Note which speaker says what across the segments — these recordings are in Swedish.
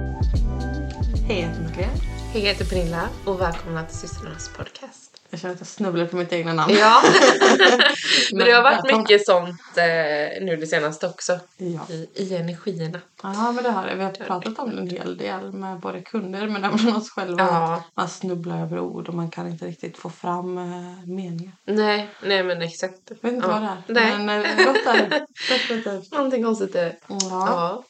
Speaker 1: Hej, jag heter Madeleine.
Speaker 2: Hej, jag heter Pernilla och välkomna till systrarnas podcast.
Speaker 1: Jag känner att jag snubblar på mitt egna namn.
Speaker 2: Ja, men det har varit
Speaker 1: välkomna.
Speaker 2: mycket sånt eh, nu det senaste också
Speaker 1: Ja.
Speaker 2: i, i energierna.
Speaker 1: ja, men det har det. Vi har pratat om det en hel del med både kunder men även oss själva.
Speaker 2: Ja,
Speaker 1: Man snubblar över ord och man kan inte riktigt få fram eh, meningar.
Speaker 2: nej, nej men exakt.
Speaker 1: Jag vet inte
Speaker 2: ja.
Speaker 1: vad det är.
Speaker 2: Nej.
Speaker 1: Men eh, gott är det. Definitivt.
Speaker 2: Någonting konstigt är det.
Speaker 1: Ja.
Speaker 2: Ja.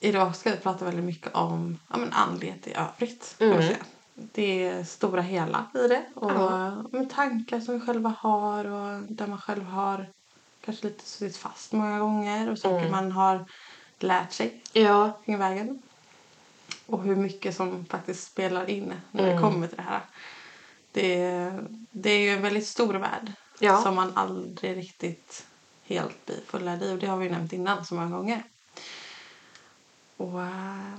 Speaker 1: Idag ska vi prata väldigt mycket om ja, men andlighet i övrigt.
Speaker 2: Mm.
Speaker 1: kan man säga. Det stora hela i det. Och
Speaker 2: Ja.
Speaker 1: med tankar som vi själva har och där man själv har kanske lite suttit fast många gånger och saker
Speaker 2: Mm.
Speaker 1: man har lärt sig
Speaker 2: ja.
Speaker 1: kring vägen. Och hur mycket som faktiskt spelar in när det
Speaker 2: Mm.
Speaker 1: kommer till det här. Det, det är ju en väldigt stor värld
Speaker 2: Ja.
Speaker 1: som man aldrig riktigt helt blir fullärd i. Och det har vi ju nämnt innan så många gånger. Och eh,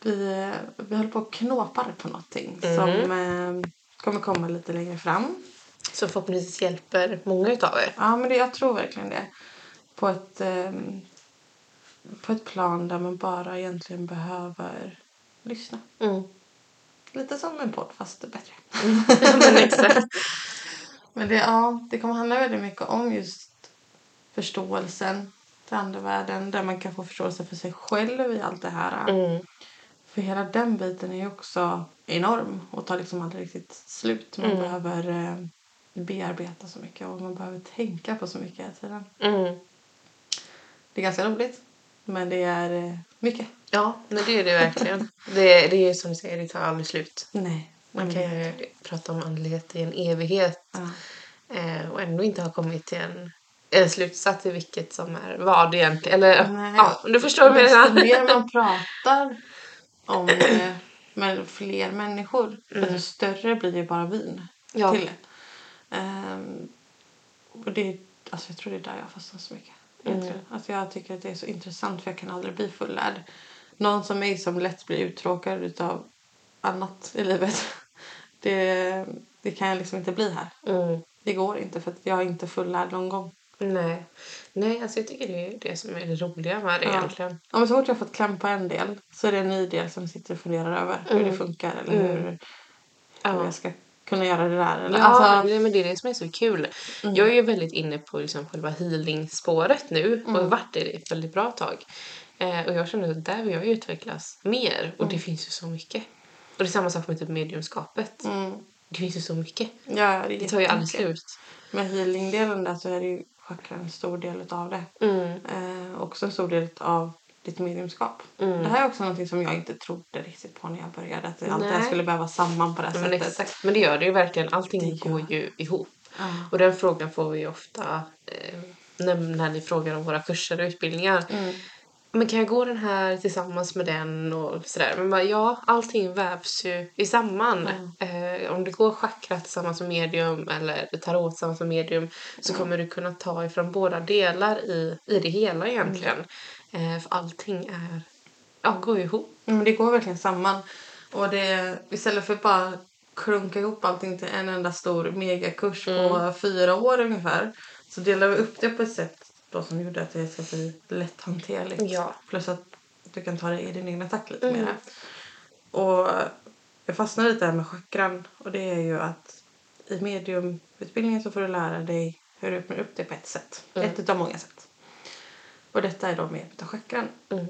Speaker 1: vi, vi håller på och knåpar på någonting
Speaker 2: Mhm.
Speaker 1: som eh, kommer komma lite längre fram.
Speaker 2: Så förhoppningsvis hjälper många utav er.
Speaker 1: Ja, men det, jag tror verkligen det. På ett, ehm, på ett plan där man bara egentligen behöver lyssna.
Speaker 2: Mm.
Speaker 1: Lite som en podd, fast bättre.
Speaker 2: men exakt.
Speaker 1: Men det, ja, det kommer handla väldigt mycket om just förståelsen till andevärlden. Där man kan få förståelse för sig själv i allt det här.
Speaker 2: Mm.
Speaker 1: För hela den biten är ju också enorm och tar liksom aldrig riktigt slut. Man
Speaker 2: Mm.
Speaker 1: behöver eh, bearbeta så mycket och man behöver tänka på så mycket hela tiden.
Speaker 2: Mm.
Speaker 1: Det är ganska roligt. Men det är eh, mycket.
Speaker 2: Ja, men det är det verkligen. Det, det är ju som du säger, det tar aldrig slut.
Speaker 1: Nej.
Speaker 2: Man
Speaker 1: men-
Speaker 2: kan ju prata om andlighet i en evighet
Speaker 1: Mm. ja.
Speaker 2: eh, och ändå inte har kommit till en, en slutsats i vilket som är vad egentligen. Eller
Speaker 1: Nej.
Speaker 2: ja, du förstår vad jag
Speaker 1: Desto
Speaker 2: menar.
Speaker 1: mer man pratar om eh, Mm. med fler människor desto större blir ju bara vin
Speaker 2: Ja.
Speaker 1: till det. Ehm, och det är, alltså jag tror det är där jag fastnar så mycket. Mm. Alltså jag tycker att det är så intressant för jag kan aldrig bli fullärd. Någon som mig som lätt blir uttråkad utav annat i livet. Det, det kan jag liksom inte bli här.
Speaker 2: Mm.
Speaker 1: Det går inte för att jag är inte fullärd någon gång.
Speaker 2: Nej. Nej, alltså jag tycker det är det som är det roliga med det
Speaker 1: Ja.
Speaker 2: egentligen.
Speaker 1: Ja, men så fort jag fått kläm på en del så är det en ny del som sitter och funderar över hur det funkar eller
Speaker 2: Mm.
Speaker 1: hur, hur
Speaker 2: Ja.
Speaker 1: jag ska kunna göra det där. Eller,
Speaker 2: Ja,
Speaker 1: alltså,
Speaker 2: nej, men det är det som är så kul.
Speaker 1: Mm.
Speaker 2: Jag är ju väldigt inne på liksom själva healing-spåret nu
Speaker 1: Mm.
Speaker 2: och har varit i det ett väldigt bra tag. Eh, och jag känner att där vill jag utvecklas mer och det
Speaker 1: Mm.
Speaker 2: finns ju så mycket. Och det är samma sak med typ mediumskapet.
Speaker 1: mm,
Speaker 2: Det finns ju så mycket.
Speaker 1: ja, det,
Speaker 2: Det tar ju aldrig slut.
Speaker 1: Med healingdelen där så är det ju chakran en stor del av det.
Speaker 2: Mm.
Speaker 1: Eh, också en stor del av ditt mediumskap.
Speaker 2: Mm.
Speaker 1: Det här är också någonting som jag inte trodde riktigt på när jag började. Att allt det här
Speaker 2: Nej.
Speaker 1: skulle behöva samman på det här
Speaker 2: Men,
Speaker 1: sättet.
Speaker 2: exakt, men det gör det ju verkligen. Allting
Speaker 1: Alltså, Det gör
Speaker 2: går ju ihop.
Speaker 1: Ja.
Speaker 2: Och den frågan får vi ju ofta eh, när, när ni frågar om våra kurser och utbildningar.
Speaker 1: Mm.
Speaker 2: Men kan jag gå den här tillsammans med den och sådär? Men bara, ja, allting vävs ju i samman. Eh, om du går chakra tillsammans med medium eller tarot tillsammans med medium så kommer du kunna ta ifrån båda delar i, i det hela egentligen. Eh, för allting är, ja, går ju ihop.
Speaker 1: Ja, Mm, Men det går verkligen samman. Och det, istället för att bara klunka ihop allting till en enda stor megakurs på fyra år ungefär så delar vi upp det på ett sätt då som gjorde att det ska bli lätthanterligt.
Speaker 2: Ja.
Speaker 1: Plus att du kan ta det i din egna takt lite
Speaker 2: Mm.
Speaker 1: mer. Och jag fastnade lite här med chakran och det är ju att i mediumutbildningen så får du lära dig hur du öppnar upp det på ett sätt.
Speaker 2: Mm.
Speaker 1: Ett utav många sätt. Och detta är då med utav chakran.
Speaker 2: Mm.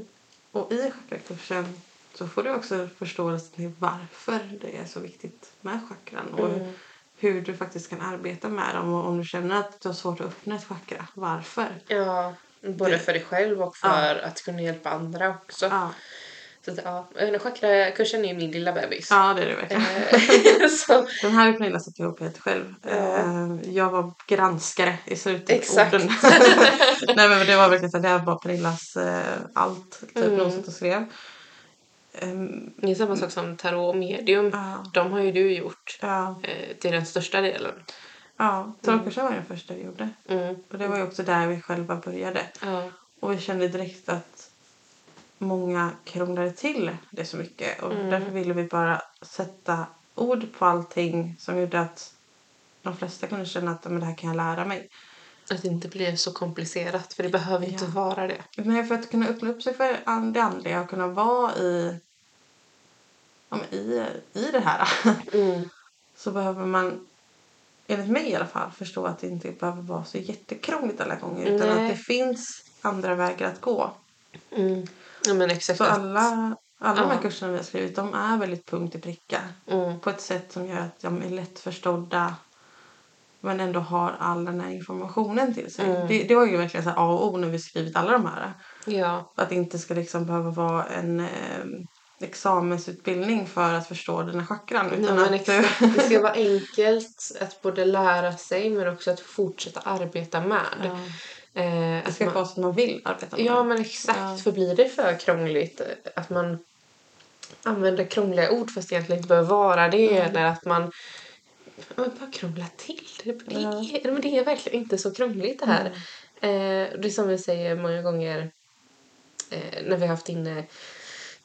Speaker 1: Och i chakrakursen så får du också förståelse till varför det är så viktigt med chakran och
Speaker 2: Mm.
Speaker 1: hur du faktiskt kan arbeta med dem och om du känner att du har svårt att öppna ett chakra, varför?
Speaker 2: Ja, både för dig själv och för att kunna hjälpa andra också.
Speaker 1: Ja,
Speaker 2: Så att, ja, eh, chakrakursen är ju min lilla bebis.
Speaker 1: ja det är det verkligen.
Speaker 2: Eh, så,
Speaker 1: Den här har Pernilla satt ihop helt själv. Eh, Jag var granskare i slutet. av
Speaker 2: Exakt.
Speaker 1: orden. Nej men det var verkligen så här, det här var Pernillas eh, allt. Typ när hon satt och skrev. Ehm,
Speaker 2: det är samma sak som tarot och medium.
Speaker 1: Ja.
Speaker 2: De har ju du gjort
Speaker 1: ja,
Speaker 2: eh, till den största delen.
Speaker 1: ja. Trollkursen var den första vi gjorde.
Speaker 2: Mm.
Speaker 1: Och det var ju också där vi själva började.
Speaker 2: Ja.
Speaker 1: Och vi kände direkt att många krånglade till det så mycket. Och därför ville vi bara sätta ord på allting som gjorde att de flesta kunde känna att "Ja, men det här kan jag lära mig.
Speaker 2: Att det inte blir så komplicerat, för det behöver inte
Speaker 1: Ja.
Speaker 2: vara det.
Speaker 1: Nej, för att kunna öppna upp sig för an- det andliga och kunna vara i, ja, men i, i det här
Speaker 2: Mm.
Speaker 1: så behöver man, enligt mig i alla fall, förstå att det inte behöver vara så jättekrångligt alla gånger utan
Speaker 2: Nej.
Speaker 1: att det finns andra vägar att gå.
Speaker 2: Mm. Ja, men exakt.
Speaker 1: Så alla, alla de
Speaker 2: Ja.
Speaker 1: här kurserna vi har skrivit de är väldigt punkt i pricka
Speaker 2: Mm.
Speaker 1: på ett sätt som gör att de är lättförstådda men ändå har all den här informationen till sig.
Speaker 2: Mm.
Speaker 1: Det, det var ju verkligen så här A och O när vi skrivit alla de här.
Speaker 2: Ja.
Speaker 1: Att det inte ska liksom behöva vara en eh, examensutbildning för att förstå dina chakran.
Speaker 2: Nej,
Speaker 1: Utan
Speaker 2: men
Speaker 1: att eh, du...
Speaker 2: exakt. Det ska vara enkelt att både lära sig men också att fortsätta arbeta med.
Speaker 1: Ja.
Speaker 2: Eh,
Speaker 1: Det
Speaker 2: att
Speaker 1: ska
Speaker 2: man-
Speaker 1: vara som man vill arbeta med.
Speaker 2: Ja, men exakt.
Speaker 1: Ja.
Speaker 2: För blir det för krångligt eh, att man använder krångliga ord fast det egentligen inte behöver vara det
Speaker 1: Mm.
Speaker 2: eller att man ja, men bara krånglar till det. Det,
Speaker 1: Ja. Mm.
Speaker 2: är, men det är verkligen inte så krångligt det här. Eh, och det är som vi säger många gånger eh, när vi har haft inne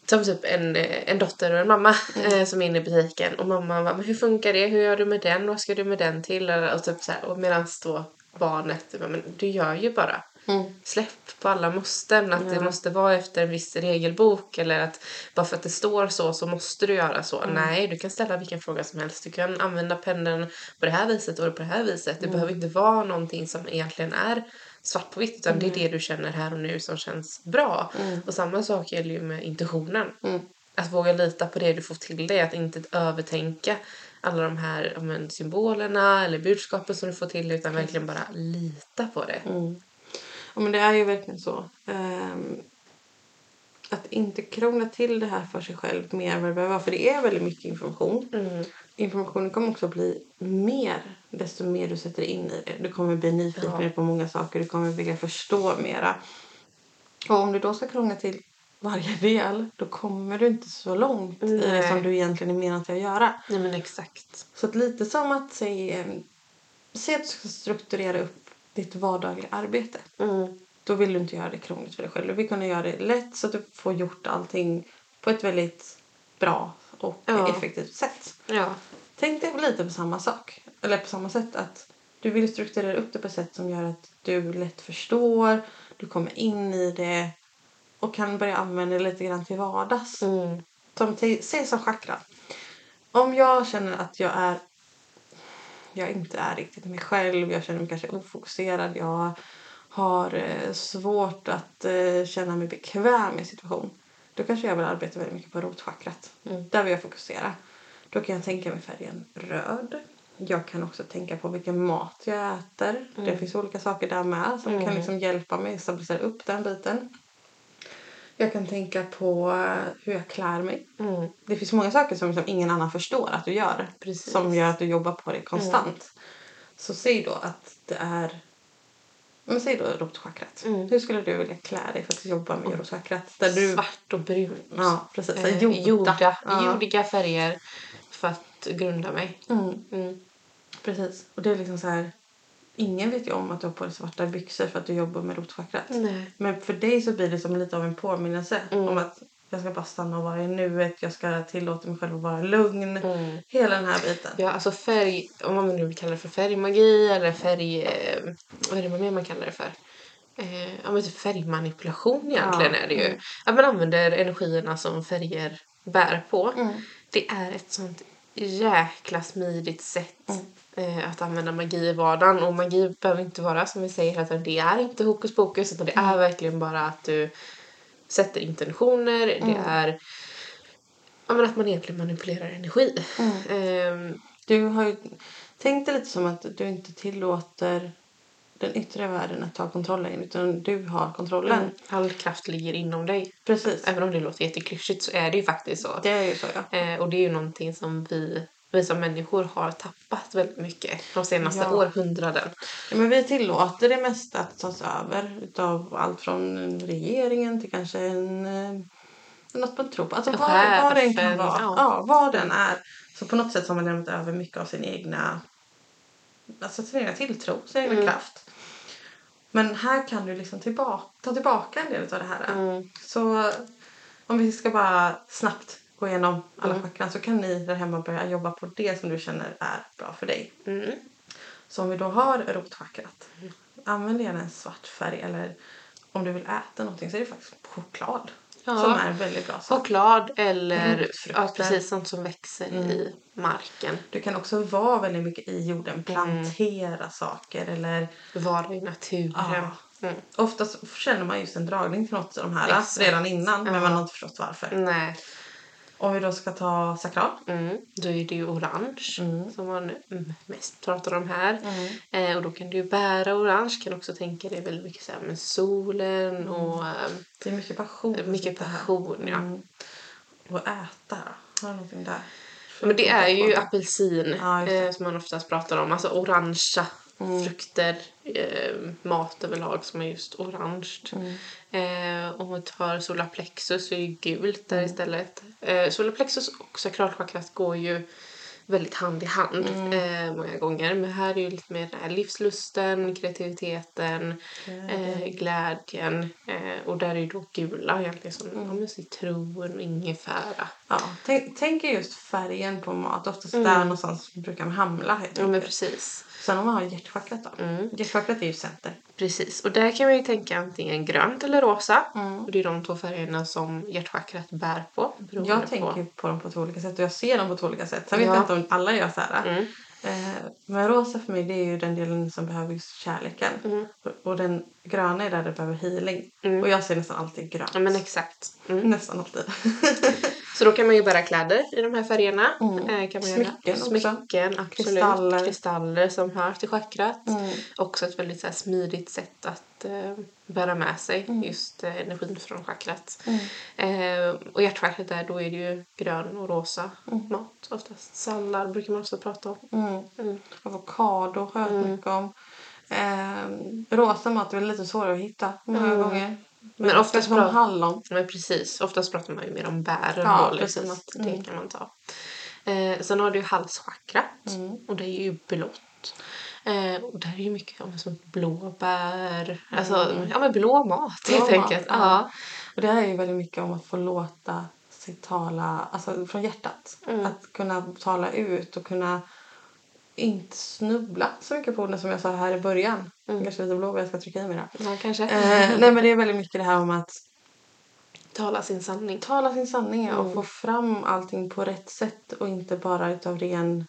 Speaker 2: som typ en, eh, en dotter och en mamma
Speaker 1: Mm.
Speaker 2: eh, som är inne i butiken och mamman bara, men hur funkar det, hur gör du med den, vad ska du med den till? Eller, och typ så här, och medan då barnet, bara, men du gör ju bara
Speaker 1: Mm.
Speaker 2: släpp på alla måsten. Att det
Speaker 1: Ja.
Speaker 2: måste vara efter en viss regelbok eller att bara för att det står så så måste du göra så.
Speaker 1: Mm.
Speaker 2: Nej, du kan ställa vilken fråga som helst. Du kan använda pendeln på det här viset och på det här viset. Det
Speaker 1: Mm.
Speaker 2: behöver inte vara någonting som egentligen är svart på vitt utan
Speaker 1: Mm.
Speaker 2: det är det du känner här och nu som känns bra. Och samma sak gäller ju med intuitionen.
Speaker 1: Mm.
Speaker 2: Att våga lita på det du får till dig, att inte övertänka alla de här ja, men, symbolerna eller budskapen som du får till dig utan verkligen bara lita på det.
Speaker 1: Mm. Ja, men det är ju verkligen så. Ehm, att inte krångla till det här för sig själv mer än vad det behöver vara. För det är väldigt mycket information.
Speaker 2: Mm.
Speaker 1: Informationen kommer också bli mer desto mer du sätter in i det. Du kommer bli nyfiken
Speaker 2: Ja.
Speaker 1: på många saker. Du kommer vilja förstå mera. Och om du då ska krångla till varje del då kommer du inte så långt i det
Speaker 2: Nej.
Speaker 1: som du egentligen är menad till att göra.
Speaker 2: Nej men exakt.
Speaker 1: Så att lite som att säg, eh, säg att du ska strukturera upp ditt vardagliga arbete.
Speaker 2: Mm.
Speaker 1: Då vill du inte göra det krångligt för dig själv. Du vill kunna göra det lätt så att du får gjort allting på ett väldigt bra och
Speaker 2: Ja.
Speaker 1: effektivt sätt.
Speaker 2: Ja.
Speaker 1: Tänk dig lite på samma sak. Eller på samma sätt att du vill strukturera upp det på ett sätt som gör att du lätt förstår, du kommer in i det och kan börja använda det lite grann till vardags.
Speaker 2: Mm.
Speaker 1: Som te- se som chakra. Om jag känner att jag är jag inte är riktigt mig själv, jag känner mig kanske ofokuserad, jag har eh, svårt att eh, känna mig bekväm i en situation. Då kanske jag vill arbeta väldigt mycket på rotchakrat.
Speaker 2: Mm.
Speaker 1: Där vill jag fokusera. Då kan jag tänka mig färgen röd. Jag kan också tänka på vilken mat jag äter. Det finns olika saker där med som kan liksom hjälpa mig att stabilisera upp den biten. Jag kan tänka på eh, hur jag klär mig.
Speaker 2: Mm.
Speaker 1: Det finns många saker som liksom ingen annan förstår att du gör.
Speaker 2: Precis.
Speaker 1: Som gör att du jobbar på det konstant. Så säg då att det är... Men säg då rotchakrat.
Speaker 2: Mm.
Speaker 1: Hur skulle du vilja klä dig för att jobba med rotchakrat? Där du...
Speaker 2: Svart och brunt.
Speaker 1: Ja, precis.
Speaker 2: Eh,
Speaker 1: jorda.
Speaker 2: jorda.
Speaker 1: Ja.
Speaker 2: Jordiga färger för att grunda mig.
Speaker 1: Mm,
Speaker 2: Mm.
Speaker 1: precis. Och det är liksom så här... Ingen vet ju om att du har på dig svarta byxor för att du jobbar med rotchakrat.
Speaker 2: Nej.
Speaker 1: Men för dig så blir det som lite av en påminnelse
Speaker 2: Mm.
Speaker 1: om att jag ska bara stanna och vara i nuet. Jag ska tillåta mig själv att vara lugn.
Speaker 2: Mm.
Speaker 1: Hela den här biten.
Speaker 2: Ja, alltså färg, om man nu vill kalla det för färgmagi eller färg... Eh, vad är det mer man kallar det för? Eh, ja, men typ färgmanipulation egentligen
Speaker 1: Ja.
Speaker 2: är det ju.
Speaker 1: Mm.
Speaker 2: Att man använder energierna som färger bär på.
Speaker 1: Mm.
Speaker 2: Det är ett sånt jäkla smidigt sätt
Speaker 1: Mm.
Speaker 2: eh, att använda magi i vardagen. Och magi behöver inte vara som vi säger hela tiden, det är inte hokus pokus utan det är verkligen bara att du sätter intentioner, det är ja, men att man egentligen manipulerar energi. Ehm,
Speaker 1: Du har ju tänkt det lite som att du inte tillåter den yttre världen att ta kontrollen utan du har kontrollen.
Speaker 2: all kraft ligger inom dig.
Speaker 1: Precis.
Speaker 2: Även om det låter jätteklyschigt så är det ju faktiskt så.
Speaker 1: Det är ju så ja.
Speaker 2: Eh, och det är ju någonting som vi, vi som människor har tappat väldigt mycket de senaste
Speaker 1: Ja.
Speaker 2: århundraden.
Speaker 1: Ja, Men vi tillåter det mesta att tas över utav allt från regeringen till kanske en, eh, något man tror på. Alltså vad, vad det än kan
Speaker 2: Chefen,
Speaker 1: vara.
Speaker 2: ja.
Speaker 1: Ja. vad den är. Så på något sätt så har man lämnat över mycket av sin egna, alltså sin egna tilltro, sin egna kraft. Men här kan du liksom tillbaka, ta tillbaka en del av det här.
Speaker 2: Mm.
Speaker 1: Så om vi ska bara snabbt gå igenom alla
Speaker 2: Mm.
Speaker 1: chakran så kan ni där hemma börja jobba på det som du känner är bra för dig.
Speaker 2: Mm.
Speaker 1: Så om vi då har rotchakrat. använd gärna en svart färg eller om du vill äta någonting så är det faktiskt choklad
Speaker 2: Ja.
Speaker 1: som är väldigt bra sak.
Speaker 2: Choklad eller
Speaker 1: Rotfrukter.
Speaker 2: ja, precis sånt som växer i marken.
Speaker 1: Du kan också vara väldigt mycket i
Speaker 2: Mm.
Speaker 1: jorden, plantera saker eller
Speaker 2: Vara i naturen.
Speaker 1: Ja.
Speaker 2: Mm.
Speaker 1: Ehm, oftast känner man just en dragning till något av de här
Speaker 2: Exakt.
Speaker 1: redan innan men man
Speaker 2: Ja. Mm.
Speaker 1: har inte förstått varför.
Speaker 2: Nej.
Speaker 1: Om vi då ska ta sakral.
Speaker 2: Mm. Då är det ju orange som man mm, mest pratar om här.
Speaker 1: Mm.
Speaker 2: Eh, och då kan du ju bära orange. Kan också tänka dig väldigt mycket så här med solen och eh,
Speaker 1: Det är mycket passion.
Speaker 2: mycket
Speaker 1: Mm. Det här.
Speaker 2: passion. Ja.
Speaker 1: Mm. Och äta då? Har du någonting där?
Speaker 2: Men det är ju apelsin
Speaker 1: Ja, just det. Mm.
Speaker 2: eh, som man oftast pratar om. Alltså orangea frukter, eh, mat överlag som är just orange.
Speaker 1: Mm.
Speaker 2: Eh, om vi tar solaplexus så är ju gult
Speaker 1: Mm.
Speaker 2: där istället. Eh, solaplexus och sakralchakrat går ju väldigt hand i hand
Speaker 1: Mm.
Speaker 2: eh, många gånger. Men här är ju lite mer den här livslusten, kreativiteten, eh, glädjen. Eh, och där är ju då gula egentligen som
Speaker 1: Mm.
Speaker 2: ja, men citron och ingefära.
Speaker 1: Ja, tänk, tänk er just färgen på mat. Oftast där någonstans brukar man hamna. helt
Speaker 2: Mm. Ja men Mm.
Speaker 1: enkelt.
Speaker 2: precis.
Speaker 1: Sen om man har hjärtchakrat då. Hjärtchakrat är ju center.
Speaker 2: Precis, och där kan man ju tänka antingen grönt eller rosa.
Speaker 1: Mm.
Speaker 2: Och det är de två färgerna som hjärtchakrat bär på. beroende
Speaker 1: Jag
Speaker 2: på.
Speaker 1: tänker på dem på två olika sätt och jag ser dem på två olika sätt. Sen vet
Speaker 2: Ja.
Speaker 1: jag inte om alla gör så här.
Speaker 2: Mm.
Speaker 1: Eh, men rosa för mig det är ju den delen som behöver just kärleken.
Speaker 2: Mm.
Speaker 1: Och- Och den gröna är där det behöver healing. Och jag ser nästan alltid grönt.
Speaker 2: Ja men exakt. Mm.
Speaker 1: Nästan alltid.
Speaker 2: Så då kan man ju bära kläder i de här färgerna.
Speaker 1: Mm.
Speaker 2: Eh, kan man
Speaker 1: Smycken
Speaker 2: göra.
Speaker 1: också.
Speaker 2: Smycken, absolut.
Speaker 1: Kristaller.
Speaker 2: Kristaller som hör till chakrat.
Speaker 1: Mm.
Speaker 2: Också ett väldigt så här, smidigt sätt att eh, bära med sig
Speaker 1: Mm.
Speaker 2: just eh, energin från chakrat. Eh, och hjärtchakrat där, då är det ju grön och rosa mat oftast. Sallad brukar man också prata om.
Speaker 1: Mm.
Speaker 2: Mm.
Speaker 1: Avokado har jag hört mycket om. Eh, rosa mat är väl lite svårare att hitta många
Speaker 2: Mm.
Speaker 1: gånger.
Speaker 2: Men oftast
Speaker 1: som
Speaker 2: bra-
Speaker 1: hallon.
Speaker 2: Men precis, oftast pratar man ju mer om bären
Speaker 1: Ja,
Speaker 2: och liksom
Speaker 1: precis. Mm.
Speaker 2: att det kan man ta. Eh, sen har du ju halschakrat
Speaker 1: Mm.
Speaker 2: och det är ju blått. Eh, och där är ju mycket om som blåbär, alltså ja men blå mat helt
Speaker 1: Mm. Blå mat,
Speaker 2: enkelt.
Speaker 1: ja.
Speaker 2: Ja.
Speaker 1: Och det här är ju väldigt mycket om att få låta sig tala alltså från hjärtat.
Speaker 2: Mm.
Speaker 1: Att kunna tala ut och kunna inte snubbla så mycket på orden som jag sa här i
Speaker 2: Mm.
Speaker 1: början. Kanske lite blåbär jag ska trycka i mig då.
Speaker 2: ja, kanske.
Speaker 1: Eh, nej men det är väldigt mycket det här om att
Speaker 2: Tala sin sanning.
Speaker 1: tala sin sanning ja,
Speaker 2: Mm.
Speaker 1: och få fram allting på rätt sätt och inte bara utav ren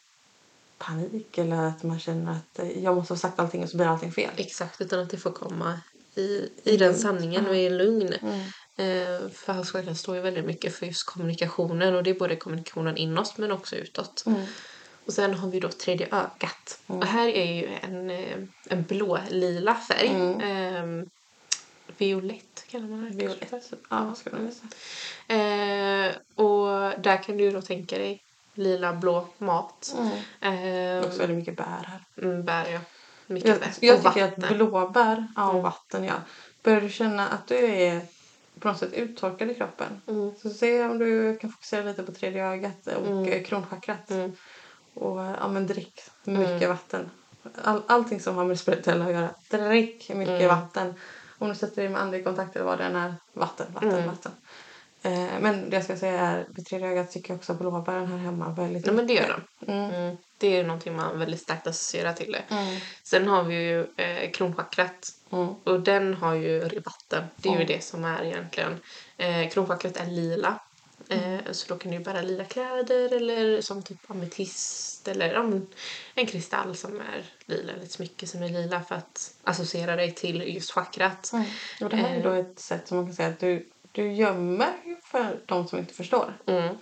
Speaker 1: panik eller att man känner att eh, jag måste ha sagt allting och så blir allting fel.
Speaker 2: Exakt, utan att det får komma i, i den
Speaker 1: Mm.
Speaker 2: sanningen och i lugn. Eh, för halschakrat står ju väldigt mycket för just kommunikationen och det är både kommunikationen inåt men också utåt.
Speaker 1: Mm.
Speaker 2: Och sen har vi då tredje ögat. Och här är ju en, eh, en blå-lila färg.
Speaker 1: Mm.
Speaker 2: Eh, violett kallar man det.
Speaker 1: Violett. Ja, vad ska man säga?
Speaker 2: Eh, och där kan du ju då tänka dig lila blå mat.
Speaker 1: Det är
Speaker 2: Eh,
Speaker 1: också väldigt mycket bär här.
Speaker 2: mm, bär ja. Mycket
Speaker 1: Jag,
Speaker 2: bär.
Speaker 1: jag
Speaker 2: Och
Speaker 1: tycker att
Speaker 2: vatten. Mm.
Speaker 1: blåbär ja, och vatten, ja. Börjar du känna att du är på något sätt uttorkad i kroppen
Speaker 2: Mm.
Speaker 1: så se om du kan fokusera lite på tredje ögat och mm. kronchakrat.
Speaker 2: Mm.
Speaker 1: Och eh, ja, men drick mycket vatten. All, allting som har med det spirituella att göra. Drick mycket
Speaker 2: Mm.
Speaker 1: vatten. Om du sätter dig med andlig kontakt eller vad det än är. Vatten, vatten,
Speaker 2: Mm.
Speaker 1: vatten. Eh, men det jag ska säga är vid tredje ögat tycker jag också att blåbären här hemma väldigt
Speaker 2: Nej men det gör de.
Speaker 1: Mm.
Speaker 2: Mm. Det är ju någonting man väldigt starkt associerar till det.
Speaker 1: Mm.
Speaker 2: Sen har vi ju eh, kronchakrat.
Speaker 1: Mm.
Speaker 2: Och den har ju vatten. Det är
Speaker 1: Mm.
Speaker 2: ju det som är egentligen. Eh, kronchakrat är lila. Eh, så då kan du ju bära lila kläder eller som typ ametist eller ja, men en kristall som är lila eller ett smycke som är lila för att associera dig till just chakrat.
Speaker 1: Mm. Och det här är då
Speaker 2: Eh.
Speaker 1: ett sätt som man kan säga att du, du gömmer ju för de som inte förstår.
Speaker 2: Mm.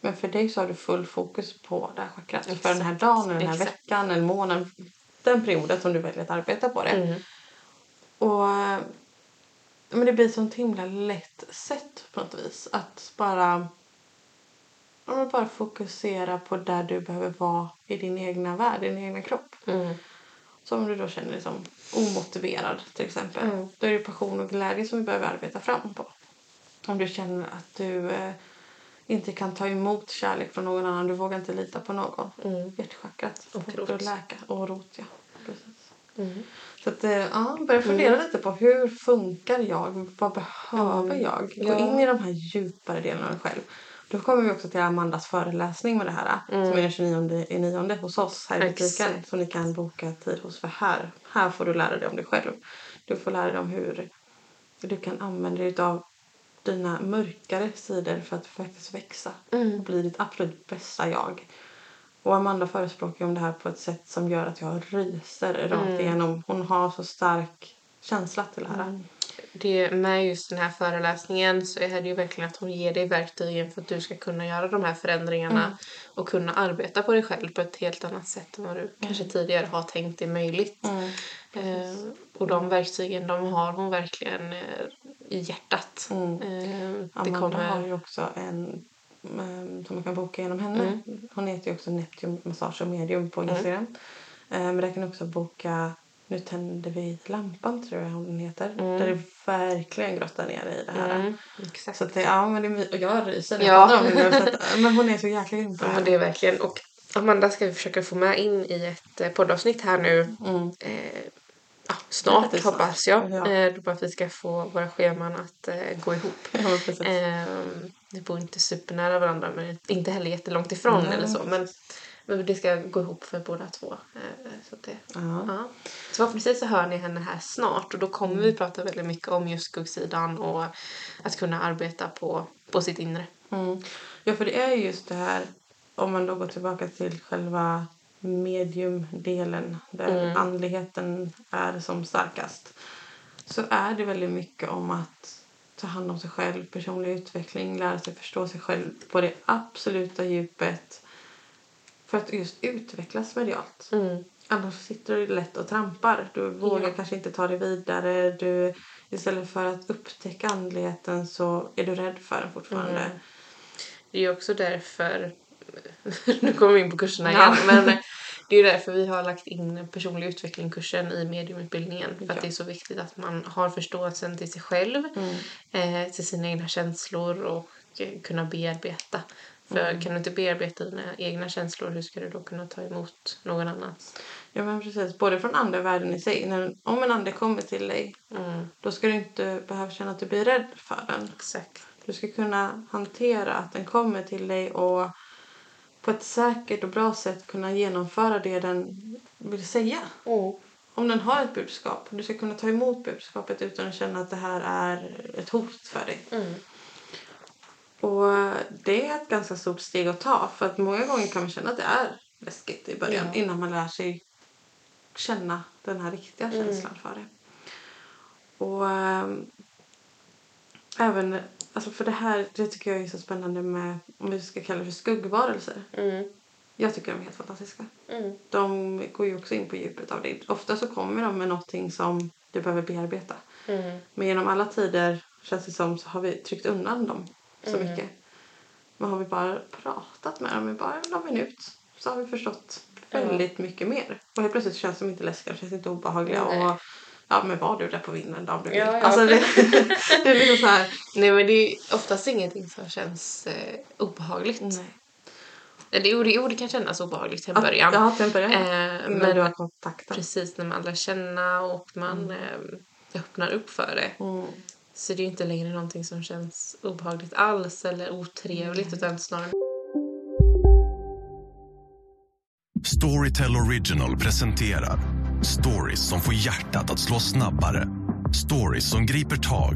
Speaker 1: Men för dig så har du full fokus på det här chakrat. För
Speaker 2: Exakt.
Speaker 1: den här dagen, eller den här
Speaker 2: Exakt.
Speaker 1: veckan, eller månaden. Den perioden som du väljer att arbeta på det.
Speaker 2: Mm.
Speaker 1: Och eh, men det blir sånt himla lätt sätt på något vis. Att bara, ja, men bara fokusera på där du behöver vara i din egna värld, i din egna kropp.
Speaker 2: Mm.
Speaker 1: Så om du då känner dig som omotiverad till exempel.
Speaker 2: Mm.
Speaker 1: Då är det passion och glädje som vi behöver arbeta fram på. Om du känner att du eh, inte kan ta emot kärlek från någon annan, du vågar inte lita på någon.
Speaker 2: Mm.
Speaker 1: Hjärtchakrat.
Speaker 2: Och
Speaker 1: får
Speaker 2: rot.
Speaker 1: du läka. Och rot, ja. Precis.
Speaker 2: Mm.
Speaker 1: Så att, eh, ja, börja fundera lite på hur funkar jag? Vad behöver jag? Gå
Speaker 2: Mm. Ja.
Speaker 1: in i de här djupare delarna av dig själv. Då kommer vi också till Amandas föreläsning med det här som är den 29 i nionde hos oss här i butiken.
Speaker 2: Exakt.
Speaker 1: Så ni kan boka tid hos för här. Här får du lära dig om dig själv. Du får lära dig om hur du kan använda dig av dina mörkare sidor för att faktiskt växa och bli ditt absolut bästa jag. Och Amanda förespråkar ju om det här på ett sätt som gör att jag ryser rakt igenom. Hon har så stark känsla till det här.
Speaker 2: det, med just den här föreläsningen så är det ju verkligen att hon ger dig verktygen för att du ska kunna göra de här förändringarna och kunna arbeta på dig själv på ett helt annat sätt än vad du kanske tidigare har tänkt är möjligt. Eh, och de verktygen de har hon verkligen eh, i hjärtat.
Speaker 1: Mm.
Speaker 2: Eh, det
Speaker 1: Amanda
Speaker 2: kommer...
Speaker 1: har ju också en ehm, som man kan boka genom henne.
Speaker 2: Mm.
Speaker 1: Hon heter ju också Neptune Massage och Medium på Instagram. Eh, Men där kan du också boka Nu tänder vi lampan tror jag hon heter. Där det verkligen grottar ner dig i det här.
Speaker 2: Mm, exakt.
Speaker 1: Så att det, ja men det är, my- och jag ryser när
Speaker 2: Ja.
Speaker 1: jag pratar om det nu. Så att, men hon är så jäkla grym på det
Speaker 2: Ja,
Speaker 1: här.
Speaker 2: men det är verkligen. Och Amanda ska vi försöka få med in i ett eh, poddavsnitt här nu.
Speaker 1: Mm.
Speaker 2: Eh, ja, snart
Speaker 1: Relativt snart.
Speaker 2: hoppas jag.
Speaker 1: Ja.
Speaker 2: Eh, då bara att vi ska få våra scheman att eh, gå ihop.
Speaker 1: Ja, men precis.
Speaker 2: Ehm, vi bor inte supernära varandra men inte heller jättelångt ifrån
Speaker 1: Nej.
Speaker 2: eller så. Men, men det ska gå ihop för båda två. Eh, så, att det,
Speaker 1: Ja.
Speaker 2: ja. så förhoppningsvis så hör ni henne här snart och då kommer vi prata väldigt mycket om just skuggsidan och att kunna arbeta på, på sitt inre.
Speaker 1: Mm. Ja, för det är ju just det här, om man då går tillbaka till själva mediumdelen där andligheten är som starkast så är det väldigt mycket om att ta hand om sig själv, personlig utveckling, lära sig förstå sig själv på det absoluta djupet för att just utvecklas medialt. Annars sitter du lätt och trampar. Du vågar
Speaker 2: Mm. Ja.
Speaker 1: kanske inte ta dig vidare. Du, istället för att upptäcka andligheten så är du rädd för den fortfarande.
Speaker 2: Det är ju också därför, nu kommer vi in på kurserna
Speaker 1: Ja.
Speaker 2: igen, men det är ju därför vi har lagt in personlig utveckling-kursen i mediumutbildningen. För
Speaker 1: Ja. Mm.
Speaker 2: att det är så viktigt att man har förståelsen till sig själv, eh, till sina egna känslor och eh, kunna bearbeta. För
Speaker 1: Mm.
Speaker 2: kan du inte bearbeta dina egna känslor, hur ska du då kunna ta emot någon annans?
Speaker 1: Ja men precis, både från andra världen i sig. När, om en ande kommer till dig då ska du inte behöva känna att du blir rädd för den.
Speaker 2: Exakt.
Speaker 1: Du ska kunna hantera att den kommer till dig och på ett säkert och bra sätt kunna genomföra det den vill säga. Om den har ett budskap, du ska kunna ta emot budskapet utan att känna att det här är ett hot för dig. Och det är ett ganska stort steg att ta för att många gånger kan man känna att det är läskigt i början
Speaker 2: Ja.
Speaker 1: innan man lär sig känna den här riktiga känslan för det. Och ehm, även, alltså för det här, det tycker jag är så spännande med, om vi ska kalla det för skuggvarelser. Jag tycker de är helt fantastiska.
Speaker 2: Mm.
Speaker 1: De går ju också in på djupet av det. Ofta så kommer de med någonting som du behöver bearbeta.
Speaker 2: Mm.
Speaker 1: Men genom alla tider känns det som så har vi tryckt undan dem så
Speaker 2: Mm.
Speaker 1: mycket. Men har vi bara pratat med dem i bara någon minut så har vi förstått väldigt mycket mer. Och helt plötsligt känns de inte läskiga, de känns inte obehagliga.
Speaker 2: Nej.
Speaker 1: Och, ja men var du där på vinden då om du vill.
Speaker 2: Ja, ja.
Speaker 1: Alltså det, det är liksom så här.
Speaker 2: Nej men det är ju oftast ingenting som känns eh, obehagligt.
Speaker 1: Nej.
Speaker 2: Eller jo, det, jo, det kan kännas obehagligt till en
Speaker 1: Att-
Speaker 2: början.
Speaker 1: Ja, till en början.
Speaker 2: Eh,
Speaker 1: men,
Speaker 2: men-
Speaker 1: du har Mm. kontaktat.
Speaker 2: Precis, när man lär känna och man eh, öppnar upp för det.
Speaker 1: Mm.
Speaker 2: Så det är ju inte längre någonting som känns obehagligt alls eller otrevligt utan snarare
Speaker 3: Storytel Original presenterar stories som får hjärtat att slå snabbare. Stories som griper tag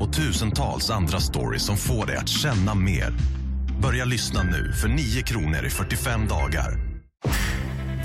Speaker 3: och tusentals andra stories som får dig att känna mer. Börja lyssna nu för 9 kronor i 45 dagar.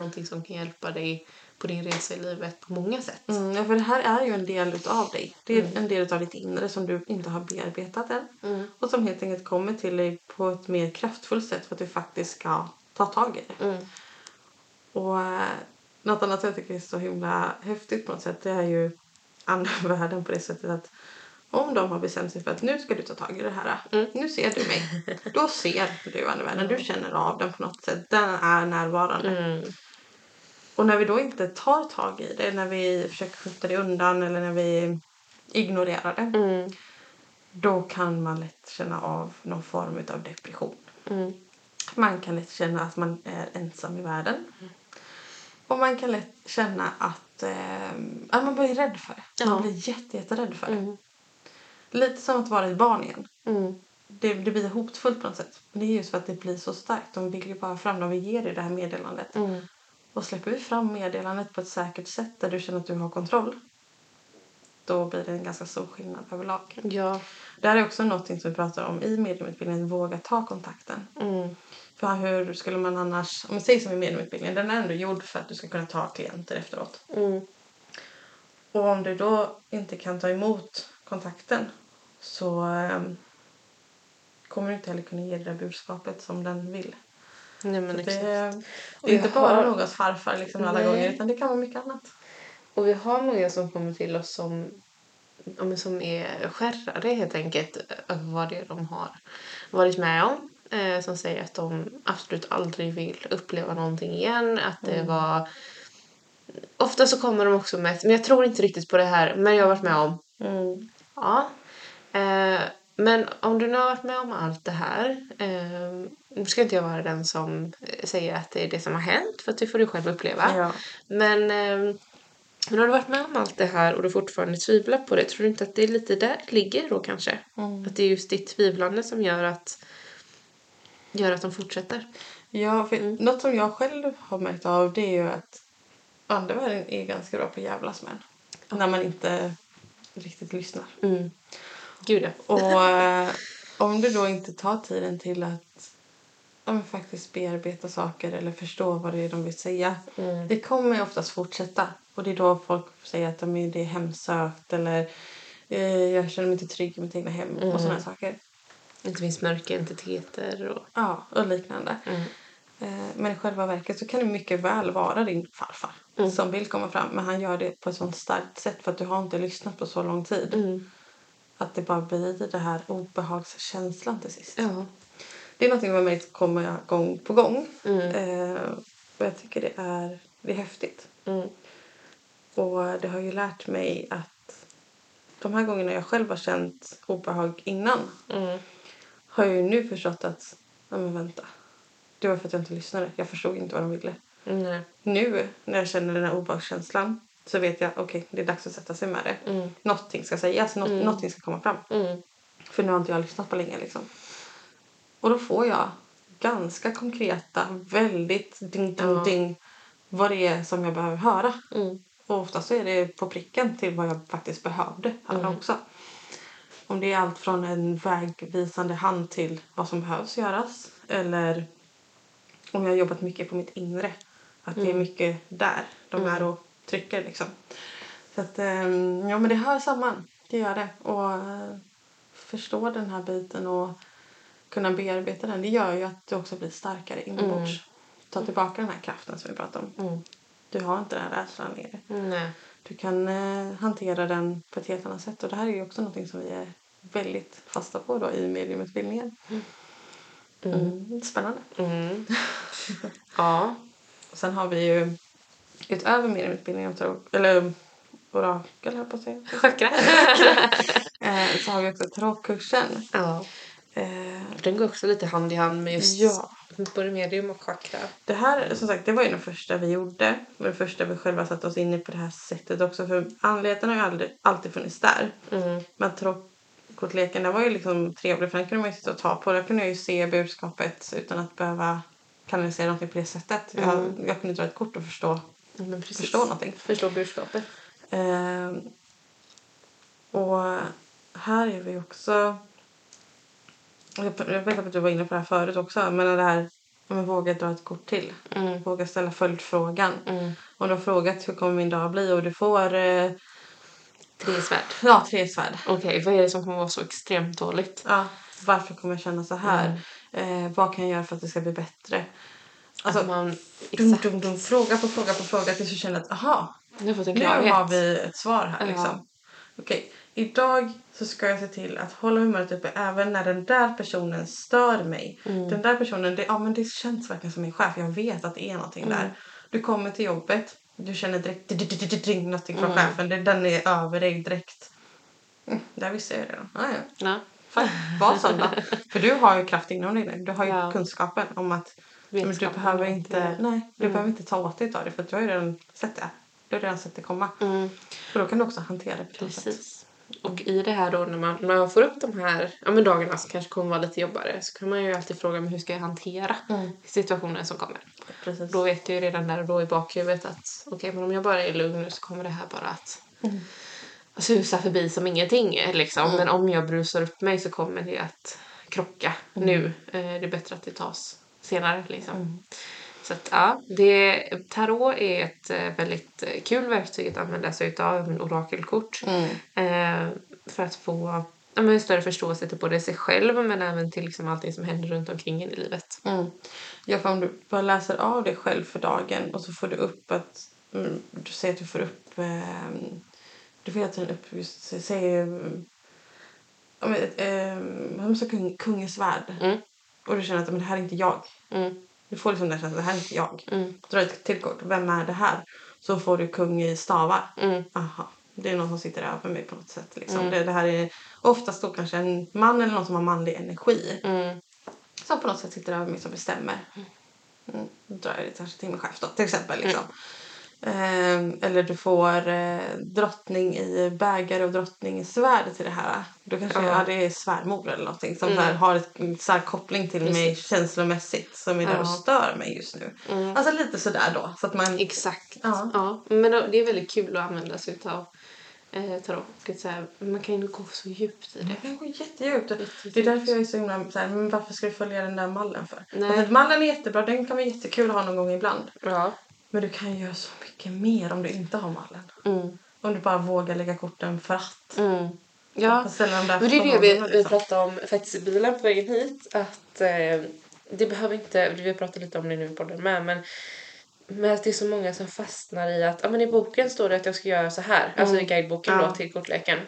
Speaker 2: någonting som kan hjälpa dig på din resa i livet på många sätt.
Speaker 1: Mm, ja, för det här är ju en del av dig. Det är en del av ditt inre som du inte har bearbetat än. Och som helt enkelt kommer till dig på ett mer kraftfullt sätt för att du faktiskt ska ta tag i det. Och eh, något annat som jag tycker är så himla häftigt på något sätt det är ju andra världen på det sättet att Om de har bestämt sig för att nu ska du ta tag i det här. Nu ser du mig. Då ser du användaren. Du känner av den på något sätt. Den är närvarande. Och när vi då inte tar tag i det, när vi försöker skjuta det undan eller när vi ignorerar det. Då kan man lätt känna av någon form av depression. Man kan lätt känna att man är ensam i världen. Och man kan lätt känna att, eh, att man blir rädd för det. Man blir jätte, jätterädd för det. Lite som att vara ett barn igen. Det, det blir hotfullt på något sätt. Men det är just för att det blir så starkt. De vill ju bara fram, de vill ge dig det här meddelandet. Och släpper vi fram meddelandet på ett säkert sätt där du känner att du har kontroll. Då blir det en ganska stor skillnad överlag.
Speaker 2: Ja.
Speaker 1: Det här är också någonting som vi pratar om i mediumutbildningen, att våga ta kontakten.
Speaker 2: Mm.
Speaker 1: För hur skulle man annars, om man säger som i mediumutbildningen, den är ändå gjord för att du ska kunna ta klienter efteråt.
Speaker 2: Mm.
Speaker 1: Och om du då inte kan ta emot kontakten så ehm, kommer du inte heller kunna ge det där budskapet som den vill.
Speaker 2: Nej, men
Speaker 1: Så
Speaker 2: exakt.
Speaker 1: det,
Speaker 2: Och
Speaker 1: det är
Speaker 2: jag
Speaker 1: inte bara
Speaker 2: har-
Speaker 1: någons farfar liksom alla
Speaker 2: Nej.
Speaker 1: gånger utan det kan vara mycket annat.
Speaker 2: Och vi har många som kommer till oss som, ja, men som är skärrade helt enkelt eh, över vad det är de har varit med om. Eh, som säger att de absolut aldrig vill uppleva någonting igen. Att det var... Ofta så kommer de också med ett, men jag tror inte riktigt på det här, men jag har varit med om. Ja. Eh, men om du nu har varit med om allt det här, eh, nu ska inte jag vara den som eh, säger att det är det som har hänt, för att det får du själv uppleva.
Speaker 1: Ja.
Speaker 2: Men, eh, men har du varit med om allt det här och du fortfarande tvivlar på det, tror du inte att det är lite där det ligger då kanske? Att det är just ditt tvivlande som gör att, gör att de fortsätter?
Speaker 1: Ja, för Något som jag själv har märkt av det är ju att andevärlden är ganska bra på att jävlas med en. När man inte riktigt lyssnar.
Speaker 2: Gud ja.
Speaker 1: Och eh, om du då inte tar tiden till att ja, men faktiskt bearbeta saker eller förstå vad det är de vill säga. Det kommer oftast fortsätta. Och det är då folk säger att de är, det är hemsökt eller eh, jag känner mig inte trygg i mitt egna hem och sådana saker.
Speaker 2: Inte minst mörka entiteter och...
Speaker 1: Ja, och liknande. Eh, Men i själva verket så kan det mycket väl vara din farfar som vill komma fram. Men han gör det på ett sånt starkt sätt för att du har inte lyssnat på så lång tid. Att det bara blir det här obehagskänslan till sist.
Speaker 2: Ja.
Speaker 1: Det är någonting med mig som kommer gång på gång. Eh, och jag tycker det är, det är häftigt. Och det har ju lärt mig att de här gångerna jag själv har känt obehag innan har jag ju nu förstått att, nej men vänta. Det var för att jag inte lyssnade. Jag förstod inte vad de ville.
Speaker 2: Nej.
Speaker 1: Nu när jag känner den här obehagskänslan så vet jag, okej det är dags att sätta sig med det. Mm. Någonting ska sägas, nå- någonting ska komma fram. För nu har inte jag lyssnat på länge liksom. Och då får jag ganska konkreta, väldigt ding ding ding vad det är som jag behöver höra. Och ofta så är det på pricken till vad jag faktiskt behövde höra också. Om det är allt från en vägvisande hand till vad som behövs göras eller om jag har jobbat mycket på mitt inre. Att det är mycket där de är och trycker liksom. Så att, ehm, ja men det hör samman. Det gör det. Och eh, förstå den här biten och kunna bearbeta den. Det gör ju att du också blir starkare inombords. Ta tillbaka den här kraften som vi pratade om. Du har inte den här rädslan längre.
Speaker 2: Nej.
Speaker 1: Du kan eh, hantera den på ett helt annat sätt. Och det här är ju också någonting som vi är väldigt fasta på då i mediumutbildningen. Mm. Spännande.
Speaker 2: Ja.
Speaker 1: Och sen har vi ju utöver mediumutbildningen, tarot- eller orakel höll jag på att säga,
Speaker 2: Chakra.
Speaker 1: eh, så har vi också tarotkursen.
Speaker 2: ja.
Speaker 1: Eh,
Speaker 2: Den går också lite hand i hand med just
Speaker 1: Ja.
Speaker 2: både medium och chakra.
Speaker 1: det här som sagt, det var ju den första vi gjorde. Och den första vi själva satte oss in i på det här sättet också. För anledningen har ju aldrig, alltid funnits där.
Speaker 2: Mm.
Speaker 1: Men tarotkortleken, den var ju liksom trevlig för den kunde man ju sitta och ta på. Där kunde jag ju se budskapet utan att behöva kanalisera någonting på det sättet. Jag, jag kunde dra ett kort och förstå,
Speaker 2: Mm. Men precis.
Speaker 1: förstå någonting.
Speaker 2: Förstå budskapet.
Speaker 1: Ehm, och här är vi också... Jag jag vet att du var inne på det här förut också. Men det här men våga dra ett kort till.
Speaker 2: Mm.
Speaker 1: Våga ställa följdfrågan. Om du har frågat hur kommer min dag bli och du får eh,
Speaker 2: Trinsvärd.
Speaker 1: ja, tre svärd.
Speaker 2: Okej, vad är det som kommer vara så extremt dåligt?
Speaker 1: Ja, varför kommer jag känna så här? Eh, vad kan jag göra för att det ska bli bättre? Alltså,
Speaker 2: Mm. Att man...
Speaker 1: dum,
Speaker 2: Exakt.
Speaker 1: dum, dum, fråga på fråga på fråga tills du känner att aha,
Speaker 2: Nu har jag fått en
Speaker 1: nu
Speaker 2: klarhet.
Speaker 1: har vi ett svar här.
Speaker 2: Ja.
Speaker 1: Liksom. okej, idag så ska jag se till att hålla humöret uppe även när den där personen stör mig. Den där personen, det, ja, men det känns verkligen som min chef. Jag vet att det är någonting där. Du kommer till jobbet, du känner direkt ding, ding, ding, ding, någonting från chefen. Det- Den är över dig direkt. Mm, där visste jag redan. Ah, ja.
Speaker 2: Ja.
Speaker 1: Fan, var sån då. För du har ju kraft inom dig nu. Du har ju
Speaker 2: Ja.
Speaker 1: kunskapen om att men du
Speaker 2: Vetskapen
Speaker 1: behöver
Speaker 2: om
Speaker 1: inte,
Speaker 2: det. Mm.
Speaker 1: nej, du behöver inte ta åt dig av det för att du har ju redan sett det. Du har redan sett det komma.
Speaker 2: Mm.
Speaker 1: Och då kan du också hantera det på något sätt.
Speaker 2: Precis. Och i det här då när man, när man får upp de här ja, men dagarna som kanske kommer vara lite jobbigare så kan man ju alltid fråga men hur ska jag hantera situationen som kommer.
Speaker 1: Precis.
Speaker 2: Då vet jag ju redan där och då i bakhuvudet att okej men om jag bara är lugn nu så kommer det här bara att susa förbi som ingenting eh, liksom. Men om jag brusar upp mig så kommer det att krocka nu. Eh, det är bättre att det tas senare liksom. Så att, ja, det, tarot är ett eh, väldigt eh, kul verktyg att använda sig utav, en orakelkort. Eh, för att få ja, men en större förståelse till både sig själv men även till liksom, allting som händer runt omkring en i livet.
Speaker 1: Mm. Ja, för om du bara läser av dig själv för dagen och så får du upp att... Mm, du säger att du får upp... ehm, du får hela tiden upp just... Säg... säg ehm, ja, men, ehm, vad man sa, kung, kungens värld. Och du känner att men, det här är inte jag. Du får liksom den känslan, det här är inte jag. Mm. Dra ett till kort, vem är det här? Så får du kung i stavar. Aha. Det är någon som sitter över mig på något sätt. Liksom. Det, det här är oftast då kanske en man eller någon som har manlig energi som på något sätt sitter över mig som bestämmer. Mm. Då drar jag det kanske till min chef då, till exempel.
Speaker 2: Mm.
Speaker 1: Liksom. Ehm, eller du får eh, drottning i bägare och drottning i svärd till det här. Då kanske
Speaker 2: Ja. Mm.
Speaker 1: ja, det är svärmor eller någonting som så här, har ett, en stark koppling till mig känslomässigt som är där och
Speaker 2: Ja. Mm.
Speaker 1: stör mig just nu. Alltså lite sådär då. Så att man,
Speaker 2: Exakt.
Speaker 1: Ja.
Speaker 2: Ja. Men då- det är väldigt kul att använda sig utav eh, tarot. Och så här, man kan ju gå så djupt i det.
Speaker 1: Det går jättedjupt. Det är därför jag är så himla så här, men varför ska du följa den där mallen för?
Speaker 2: Nej.
Speaker 1: Alltså, mallen är jättebra, den kan vara jättekul att ha någon gång ibland.
Speaker 2: Ja.
Speaker 1: Men du kan ju göra så mycket mer om du inte har mallen. Om du bara vågar lägga korten för att.
Speaker 2: Ja,
Speaker 1: Och ställa de där
Speaker 2: men det är det vi,
Speaker 1: frågorna,
Speaker 2: vi
Speaker 1: liksom.
Speaker 2: pratade om faktiskt i bilen på vägen hit. Att eh, det behöver inte, vi pratade lite om det nu i podden med, men men att det är så många som fastnar i att, ja men i boken står det att jag ska göra så här, alltså i guideboken
Speaker 1: Mm. Ja.
Speaker 2: då till kortleken.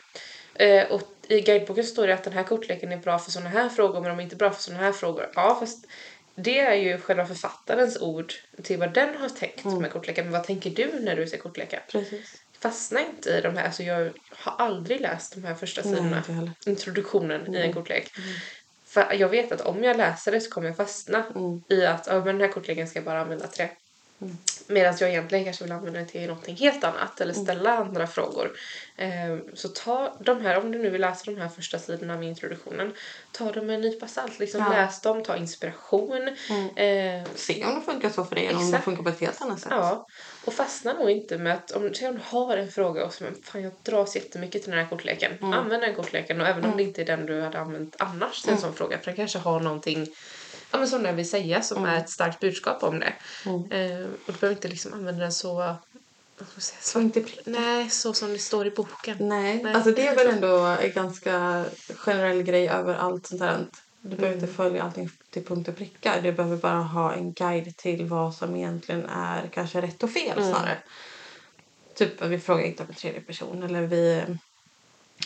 Speaker 2: Eh, och i guideboken står det att den här kortleken är bra för sådana här frågor men de är inte bra för sådana här frågor. Ja fast det är ju själva författarens ord till vad den har tänkt med kortleken. Men vad tänker du när du ser kortleken?
Speaker 1: Mm. Precis.
Speaker 2: fastna inte i de här. Alltså jag har aldrig läst de här första
Speaker 1: Nej,
Speaker 2: sidorna.
Speaker 1: inte heller. Mm.
Speaker 2: Introduktionen i en kortlek. För jag vet att om jag läser det så kommer jag fastna
Speaker 1: Mm.
Speaker 2: i att ja, men den här kortleken ska jag bara använda till det. Medan jag egentligen kanske vill använda det till någonting helt annat eller ställa andra frågor. Ehm, så ta de här, om du nu vill läsa de här första sidorna med introduktionen, ta dem med en nypa salt. Liksom
Speaker 1: Ja.
Speaker 2: Läs dem, ta inspiration. Ehm,
Speaker 1: Se om det funkar så för dig eller om det
Speaker 2: Exakt.
Speaker 1: funkar på ett helt annat sätt.
Speaker 2: Ja, och fastna nog inte med att om, säg om du har en fråga och så men fan jag dras jättemycket till den här kortleken.
Speaker 1: Mm.
Speaker 2: Använd den kortleken och även om det inte är den du hade använt annars till en
Speaker 1: Mm.
Speaker 2: sån fråga för den kanske har någonting ja, men som den vill säga
Speaker 1: Mm.
Speaker 2: som är ett starkt budskap om det. Eh, och du behöver inte liksom använda den så vad ska jag säga,
Speaker 1: Så
Speaker 2: så,
Speaker 1: inte prick.
Speaker 2: nej, så som det står i boken.
Speaker 1: Nej.
Speaker 2: Nej.
Speaker 1: alltså det är väl ändå en ganska generell grej över allt sånt här. Du behöver inte följa allting till punkt och pricka. Du behöver bara ha en guide till vad som egentligen är kanske rätt och fel snarare. Typ att vi frågar inte om en tredje person eller vi,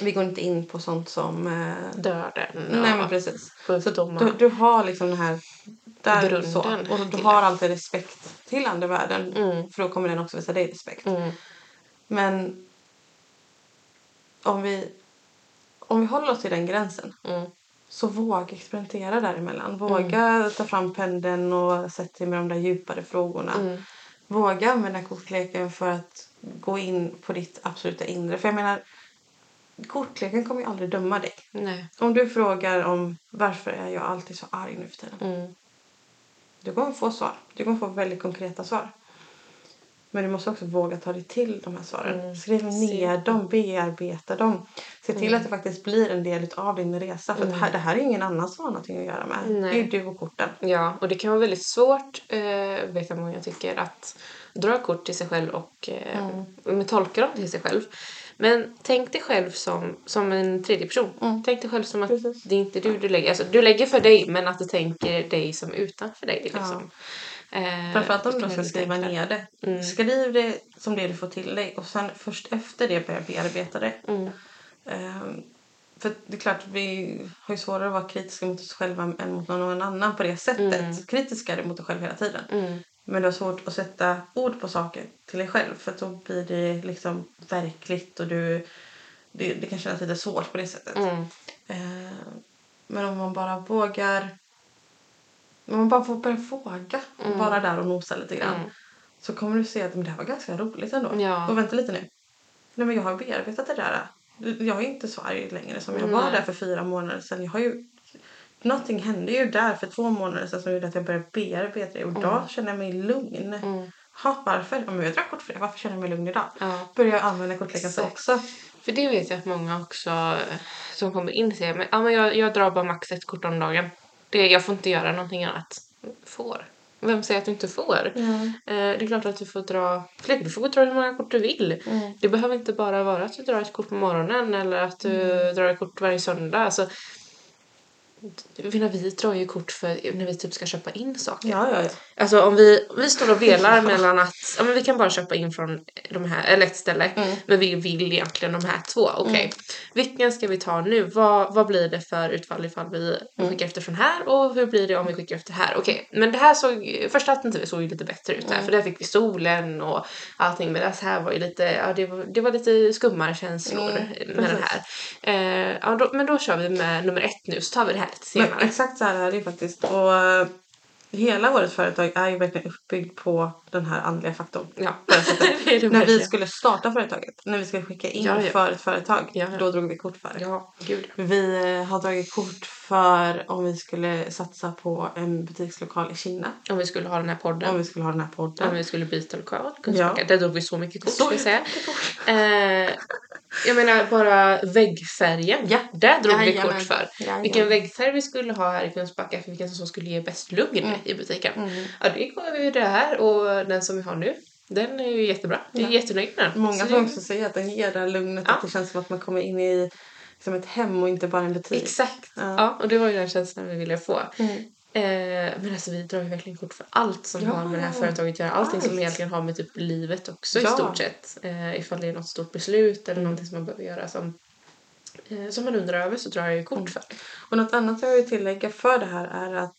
Speaker 1: vi går inte in på sånt som eh,
Speaker 2: Döden
Speaker 1: Nej men precis.
Speaker 2: sjukdomar.
Speaker 1: Du, du har liksom den här där
Speaker 2: Grunden
Speaker 1: så. Och du
Speaker 2: till
Speaker 1: har alltid respekt till andevärlden. För då kommer den också visa dig respekt. Men om vi, om vi håller oss till den gränsen. Så våga experimentera däremellan. Våga ta fram pendeln och sätta dig med de där djupare frågorna. Våga använda kortleken för att gå in på ditt absoluta inre. För jag menar, kortleken kommer ju aldrig döma dig.
Speaker 2: nej.
Speaker 1: Om du frågar om varför är jag alltid så arg nu för tiden. Du kommer få svar. Du kommer få väldigt konkreta svar. Men du måste också våga ta dig till de här svaren. Skriv ner dem, bearbeta dem. Se till att det faktiskt blir en del av din resa. För det, här, det här är ingen annan som har någonting att göra med. Det är ju du och korten.
Speaker 2: Ja, och det kan vara väldigt svårt, eh, vet jag många tycker, att dra kort till sig själv och eh,
Speaker 1: Mm.
Speaker 2: men tolka dem till sig själv. Men tänk dig själv som, som en tredje person. Tänk dig själv som att
Speaker 1: Mm. Precis.
Speaker 2: det är inte du du lägger. Alltså, du lägger för dig, men att du tänker dig som utanför dig. Liksom. Eh,
Speaker 1: Framförallt om
Speaker 2: och
Speaker 1: du ska
Speaker 2: kan
Speaker 1: skriva
Speaker 2: tänka.
Speaker 1: ner det. Skriv det som det du får till dig och sen först efter det börja bearbeta det. Ehm, för det är klart, vi har ju svårare att vara kritiska mot oss själva än mot någon annan på det sättet. Kritiska är du mot dig själv hela tiden. Men du har svårt att sätta ord på saker till dig själv för att då blir det liksom verkligt och du, det, det kan kännas lite svårt på det sättet. Ehm, men om man bara vågar om man bara får börja våga
Speaker 2: Mm.
Speaker 1: vara där och nosa lite grann så kommer du se att men det här var ganska roligt ändå.
Speaker 2: Ja.
Speaker 1: Och vänta lite nu. Nej, men jag har bearbetat det där. Jag är inte så arg längre som jag var där för fyra månader sedan. Jag har ju... Någonting hände ju där för två månader sedan som gjorde att jag började bearbeta det. Och idag
Speaker 2: Mm.
Speaker 1: känner jag mig lugn. Ha, varför? Ja, men jag drack kort för det. Varför känner jag mig lugn idag?
Speaker 2: Ja.
Speaker 1: Börjar jag använda kortleken så
Speaker 2: Exakt.
Speaker 1: också.
Speaker 2: För det vet jag att många också eh, som kommer in säger men, ja, men jag, jag drar bara max ett kort om dagen. Det, jag får inte göra någonting annat. Får? Vem säger att du inte får? Eh, det är klart att du får dra fler. Du får dra hur många kort du vill. Det behöver inte bara vara att du drar ett kort på morgonen eller att du drar ett kort varje söndag. Alltså, jag menar, vi drar ju kort för när vi typ ska köpa in saker.
Speaker 1: Ja, ja, ja.
Speaker 2: Alltså om vi, vi står och velar mellan att ja, men vi kan bara köpa in från de här, eller ett ställe,
Speaker 1: Mm.
Speaker 2: men vi vill egentligen de här två. Okej, vilken ska vi ta nu? Vad, vad blir det för utfall ifall vi
Speaker 1: Mm.
Speaker 2: skickar efter från här och hur blir det om vi skickar efter här? Okej, men det här såg, första alternativet såg ju lite bättre ut
Speaker 1: Mm.
Speaker 2: där för där fick vi solen och allting men det här var ju lite, ja det var, det var lite skummare känslor
Speaker 1: Mm,
Speaker 2: med den här. Eh, ja, då, men då kör vi med nummer ett nu så tar vi det här lite senare.
Speaker 1: Men exakt så här är det ju faktiskt. Och eh, hela vårt företag är ju verkligen uppbyggt på den här andliga faktorn.
Speaker 2: Ja,
Speaker 1: På det sättet.
Speaker 2: det
Speaker 1: när
Speaker 2: är det
Speaker 1: vi
Speaker 2: Mm, verkligen.
Speaker 1: skulle starta företaget, när vi skulle skicka in
Speaker 2: Ja, ja.
Speaker 1: för ett företag,
Speaker 2: Ja, ja.
Speaker 1: då drog vi kort för det.
Speaker 2: Ja, gud.
Speaker 1: Vi eh, har dragit kort för om vi skulle satsa på en butikslokal i Kina.
Speaker 2: Om vi skulle ha den här podden.
Speaker 1: Om vi skulle ha den här podden.
Speaker 2: Om vi skulle byta lokal, Kungsbacka.
Speaker 1: Ja.
Speaker 2: Där drog vi så mycket kort
Speaker 1: Så
Speaker 2: ska jag säga. Eh, jag menar bara väggfärgen.
Speaker 1: Ja.
Speaker 2: Där drog vi
Speaker 1: Jajamän.
Speaker 2: kort för.
Speaker 1: Jajamän.
Speaker 2: Vilken väggfärg vi skulle ha här i Kungsbacka för vilken som skulle ge bäst lugn
Speaker 1: Mm.
Speaker 2: i butiken. Ja, det gav vi ju det här och den som vi har nu. Den är ju jättebra. Vi är
Speaker 1: Ja.
Speaker 2: jättenöjda med den.
Speaker 1: Många
Speaker 2: Så det-
Speaker 1: som också säger att den ger det här lugnet,
Speaker 2: Ja.
Speaker 1: att det känns som att man kommer in i liksom ett hem och inte bara en butik.
Speaker 2: Exakt. Ja.
Speaker 1: Ja. Mm.
Speaker 2: och det var ju den känslan vi ville få. Eh, men alltså vi drar ju verkligen kort för allt som
Speaker 1: Ja.
Speaker 2: har med det här företaget att göra. Allting som
Speaker 1: Allt.
Speaker 2: egentligen har med typ livet också i
Speaker 1: Ja. Mm.
Speaker 2: stort sett. Eh, ifall det är något stort beslut eller någonting som man behöver göra som, eh, som man undrar över så drar jag ju
Speaker 1: Mm.
Speaker 2: kort för.
Speaker 1: Och något annat jag vill tillägga för det här är att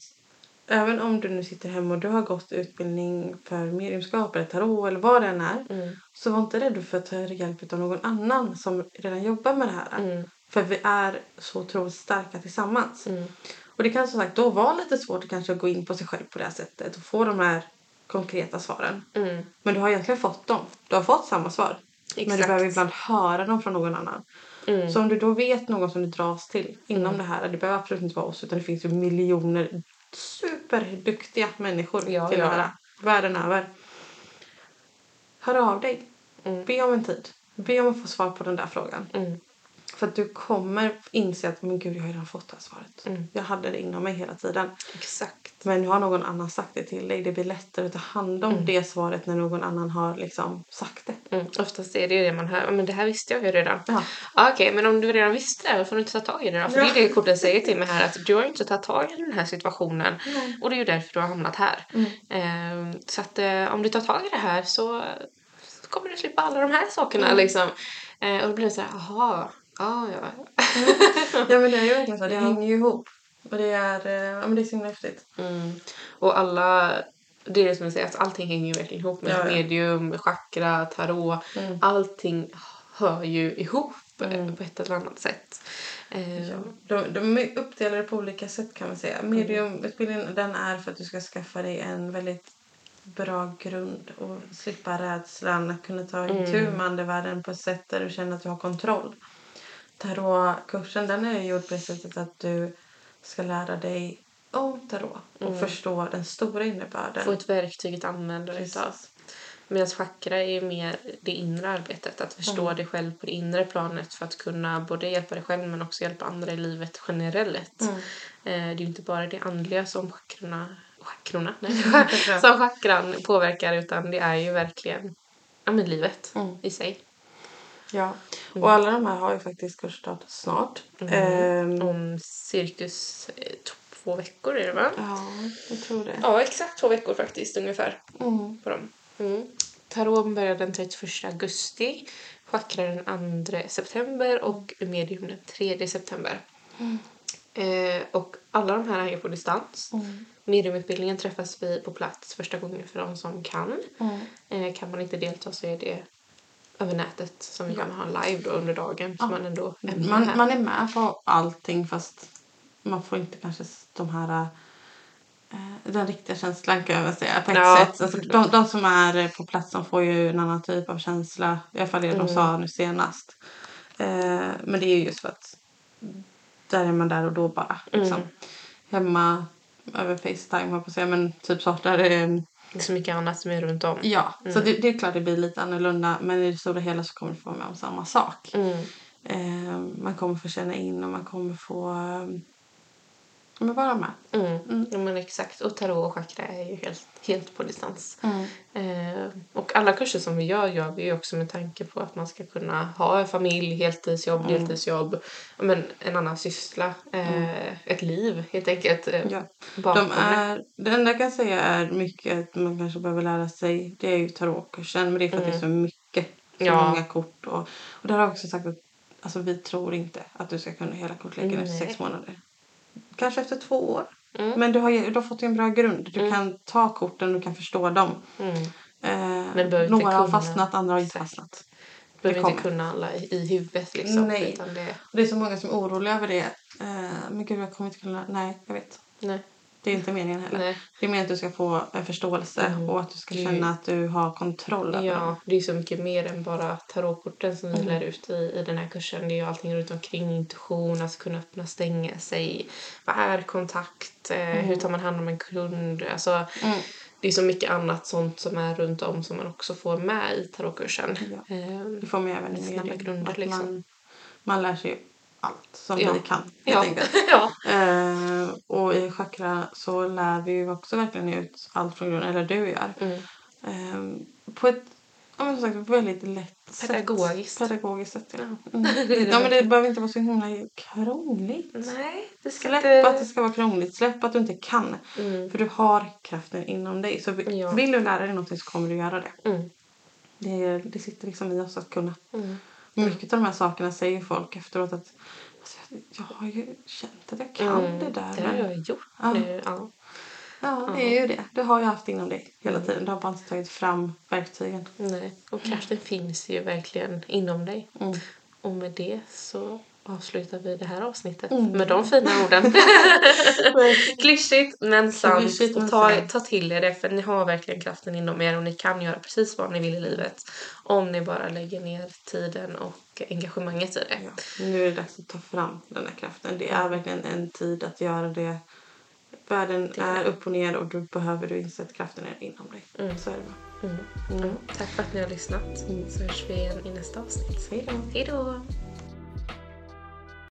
Speaker 1: även om du nu sitter hemma och du har gått utbildning för mediumskap eller tarot eller vad det än är så var inte rädd för att ta hjälp av någon annan som redan jobbar med det här. För vi är så otroligt starka tillsammans. Och det kan som sagt då vara lite svårt att kanske gå in på sig själv på det här sättet och få de här konkreta svaren. Men du har egentligen fått dem. Du har fått samma svar. Men
Speaker 2: Exakt.
Speaker 1: du behöver ibland höra dem från någon annan.
Speaker 2: Mm.
Speaker 1: Så om du då vet någon som du dras till inom det här, det behöver absolut inte vara oss utan det finns ju miljoner superduktiga människor
Speaker 2: Ja,
Speaker 1: till
Speaker 2: ja.
Speaker 1: det här världen över. Hör av dig.
Speaker 2: Mm.
Speaker 1: Be om en tid. Be om att få svar på den där frågan. För att du kommer inse att men gud, jag har ju redan fått det här svaret. Jag hade det inom mig hela tiden.
Speaker 2: Mm. Exakt.
Speaker 1: Men nu har någon annan sagt det till dig. Det blir lättare att ta hand om det svaret när någon annan har liksom sagt det.
Speaker 2: Mm. Oftast är det ju det man hör. "Ja, Men det här visste jag ju redan.
Speaker 1: Ja.
Speaker 2: Ja, Okej, men om du redan visste det, varför har du inte tagit tag i det då? För det är det kortet säger till mig här att du har ju inte tagit tag i den här situationen och det är ju därför du har hamnat här. Ehm, så att eh, om du tar tag i det här så, så kommer du slippa alla de här sakerna liksom. Eh, och då blir det så här, jaha, ja, ja.
Speaker 1: Ja men det är ju verkligen så. Det hänger ju ihop. Och det är, eh, ja, men det är så himla häftigt.
Speaker 2: Och alla, det är det som jag säger, att allting hänger ju verkligen ihop med
Speaker 1: Ja, Mm. ja.
Speaker 2: medium, chakra, tarot. Allting hör ju ihop eh,
Speaker 1: Mm.
Speaker 2: på ett eller annat sätt. Eh,
Speaker 1: De, de är uppdelade på olika sätt kan man säga. Mediumutbildningen den är för att du ska skaffa dig en väldigt bra grund och slippa rädslan. Att kunna ta itu med andevärlden på ett sätt där du känner att du har kontroll. Tarotkursen den är ju gjord på det sättet att du ska lära dig om tarot och förstå den stora innebörden.
Speaker 2: Få ett verktyg att använda dig
Speaker 1: Precis.
Speaker 2: av. Medan chakra är mer det inre arbetet, att förstå dig själv på det inre planet för att kunna både hjälpa dig själv men också hjälpa andra i livet generellt. Eh, det är ju inte bara det andliga som chakrorna, chakrorna nej, som chakran påverkar utan det är ju verkligen ja, men livet i sig.
Speaker 1: Ja. Och alla de här har ju faktiskt kursstart snart. Ehm,
Speaker 2: Om cirkus eh, t- två veckor är det va?
Speaker 1: Ja, jag tror det.
Speaker 2: Ja, exakt två veckor Mm. faktiskt ungefär. På dem. Mm. Tarot börjar den 31 augusti. Chakra den 2 september och medium den 3 september. Mm. Eh, och alla de här är ju på distans. Mediumutbildningen träffas vi på plats första gången för de som kan. Eh, kan man inte delta så är det över nätet som vi kan ha live då under dagen. Så man ändå är med
Speaker 1: Mm. Man,
Speaker 2: här.
Speaker 1: man är med på allting fast man får inte kanske s- de här eh, den riktiga känslan kan jag väl säga på ett
Speaker 2: Ja.
Speaker 1: sätt. Alltså, de, de som är eh, på plats de får ju en annan typ av känsla. I alla fall det de sa nu senast. Eh, men det är ju just för att där är man där och då bara. Liksom. Hemma över Facetime höll jag på att säga men typ startar eh,
Speaker 2: Det är så mycket annat som är runt om.
Speaker 1: Ja, så det, det är klart det blir lite annorlunda men i det stora hela så kommer du få med om samma sak. Eh, man kommer få känna in och man kommer få eh, men vara med.
Speaker 2: Mm. Ja, men exakt. Och tarot och chakra är ju helt, helt på distans.
Speaker 1: Mm.
Speaker 2: Eh, och alla kurser som vi gör gör vi ju också med tanke på att man ska kunna ha en familj, heltidsjobb,
Speaker 1: Mm.
Speaker 2: deltidsjobb, ja, men en annan syssla, eh, ett liv helt enkelt. Eh,
Speaker 1: Mm. Ja.
Speaker 2: bakom
Speaker 1: De
Speaker 2: det.
Speaker 1: är, det enda jag kan säga är mycket att man kanske behöver lära sig. Det är ju tarotkursen men det är för att det är så mycket. Så
Speaker 2: Mm. Ja.
Speaker 1: många kort. Och, och där har jag också sagt att alltså, vi tror inte att du ska kunna hela kortleken efter sex månader. Kanske efter två år.
Speaker 2: Mm.
Speaker 1: Men du har, ju- du har fått en bra grund. Du kan ta korten och du kan förstå dem. Eh,
Speaker 2: Mm. Men du behöver inte
Speaker 1: några har
Speaker 2: kunna.
Speaker 1: fastnat, andra har inte
Speaker 2: Exakt.
Speaker 1: fastnat.
Speaker 2: Du behöver inte
Speaker 1: kommer.
Speaker 2: kunna alla i, i huvudet liksom.
Speaker 1: Nej.
Speaker 2: Utan det,
Speaker 1: Och det är så många som är oroliga över det. Eh, men gud, jag kommer inte kunna... Nej, jag vet.
Speaker 2: nej.
Speaker 1: Det är inte meningen heller.
Speaker 2: Nej. Mm.
Speaker 1: Det är meningen att du ska få en förståelse och att du ska
Speaker 2: Gud.
Speaker 1: känna att du har kontroll över dem.
Speaker 2: Ja, det är så mycket mer än bara tarotkorten som
Speaker 1: Mm.
Speaker 2: vi lär ut i, i den här kursen. Det är ju allting runt omkring intuition, alltså kunna öppna och stänga sig. Vad är kontakt? Eh, Hur
Speaker 1: Mm.
Speaker 2: tar man hand om en kund? Alltså, Det är så mycket annat sånt som är runt om som man också får med i tarotkursen.
Speaker 1: Ja.
Speaker 2: Ehm,
Speaker 1: Du får med även i
Speaker 2: Snabba
Speaker 1: medium,
Speaker 2: grunder,
Speaker 1: att
Speaker 2: liksom.
Speaker 1: man, man lär sig ju allt som
Speaker 2: Ja.
Speaker 1: vi kan helt
Speaker 2: Ja.
Speaker 1: enkelt.
Speaker 2: ja.
Speaker 1: Eh, och i chakra så lär vi ju också verkligen ut allt från grunden, eller du gör.
Speaker 2: Mm.
Speaker 1: Eh, på ett ja, men som sagt, väldigt lätt
Speaker 2: Pedagogiskt.
Speaker 1: sätt. Pedagogiskt sätt. Ja. Mm. ja, men det behöver inte vara så himla krångligt.
Speaker 2: Nej, det ska
Speaker 1: Släpp
Speaker 2: inte...
Speaker 1: att det ska vara krångligt. Släpp att du inte kan. För du har kraften inom dig. Så vi-
Speaker 2: Mm. Ja.
Speaker 1: vill du lära dig någonting så kommer du göra det.
Speaker 2: Mm.
Speaker 1: Det, det sitter liksom i oss att kunna. Mycket av de här sakerna säger folk efteråt att alltså, jag- jag har ju känt att jag kan det där.
Speaker 2: Mm. Det har
Speaker 1: men-
Speaker 2: jag gjort
Speaker 1: Ja.
Speaker 2: nu. Ja.
Speaker 1: Ja, det är ju det. Du har ju haft inom dig hela tiden. Du har bara inte tagit fram verktygen.
Speaker 2: Nej. Och
Speaker 1: Mm.
Speaker 2: kraften finns ju verkligen inom dig. Och med det så avslutar vi det här avsnittet
Speaker 1: Mm.
Speaker 2: med de fina orden. Klyschigt men sant.
Speaker 1: Klyschigt, men
Speaker 2: och ta,
Speaker 1: sant.
Speaker 2: ta till er det för ni har verkligen kraften inom er och ni kan göra precis vad ni vill i livet. Om ni bara lägger ner tiden och engagemanget i det.
Speaker 1: Nu är det dags att ta fram den här kraften. Det är verkligen en tid att göra det. Världen är upp och ner och då behöver du inse att kraften är inom dig. Så är det bara. Mm.
Speaker 2: Tack för att ni har lyssnat. Så hörs vi igen i nästa avsnitt. Hej då!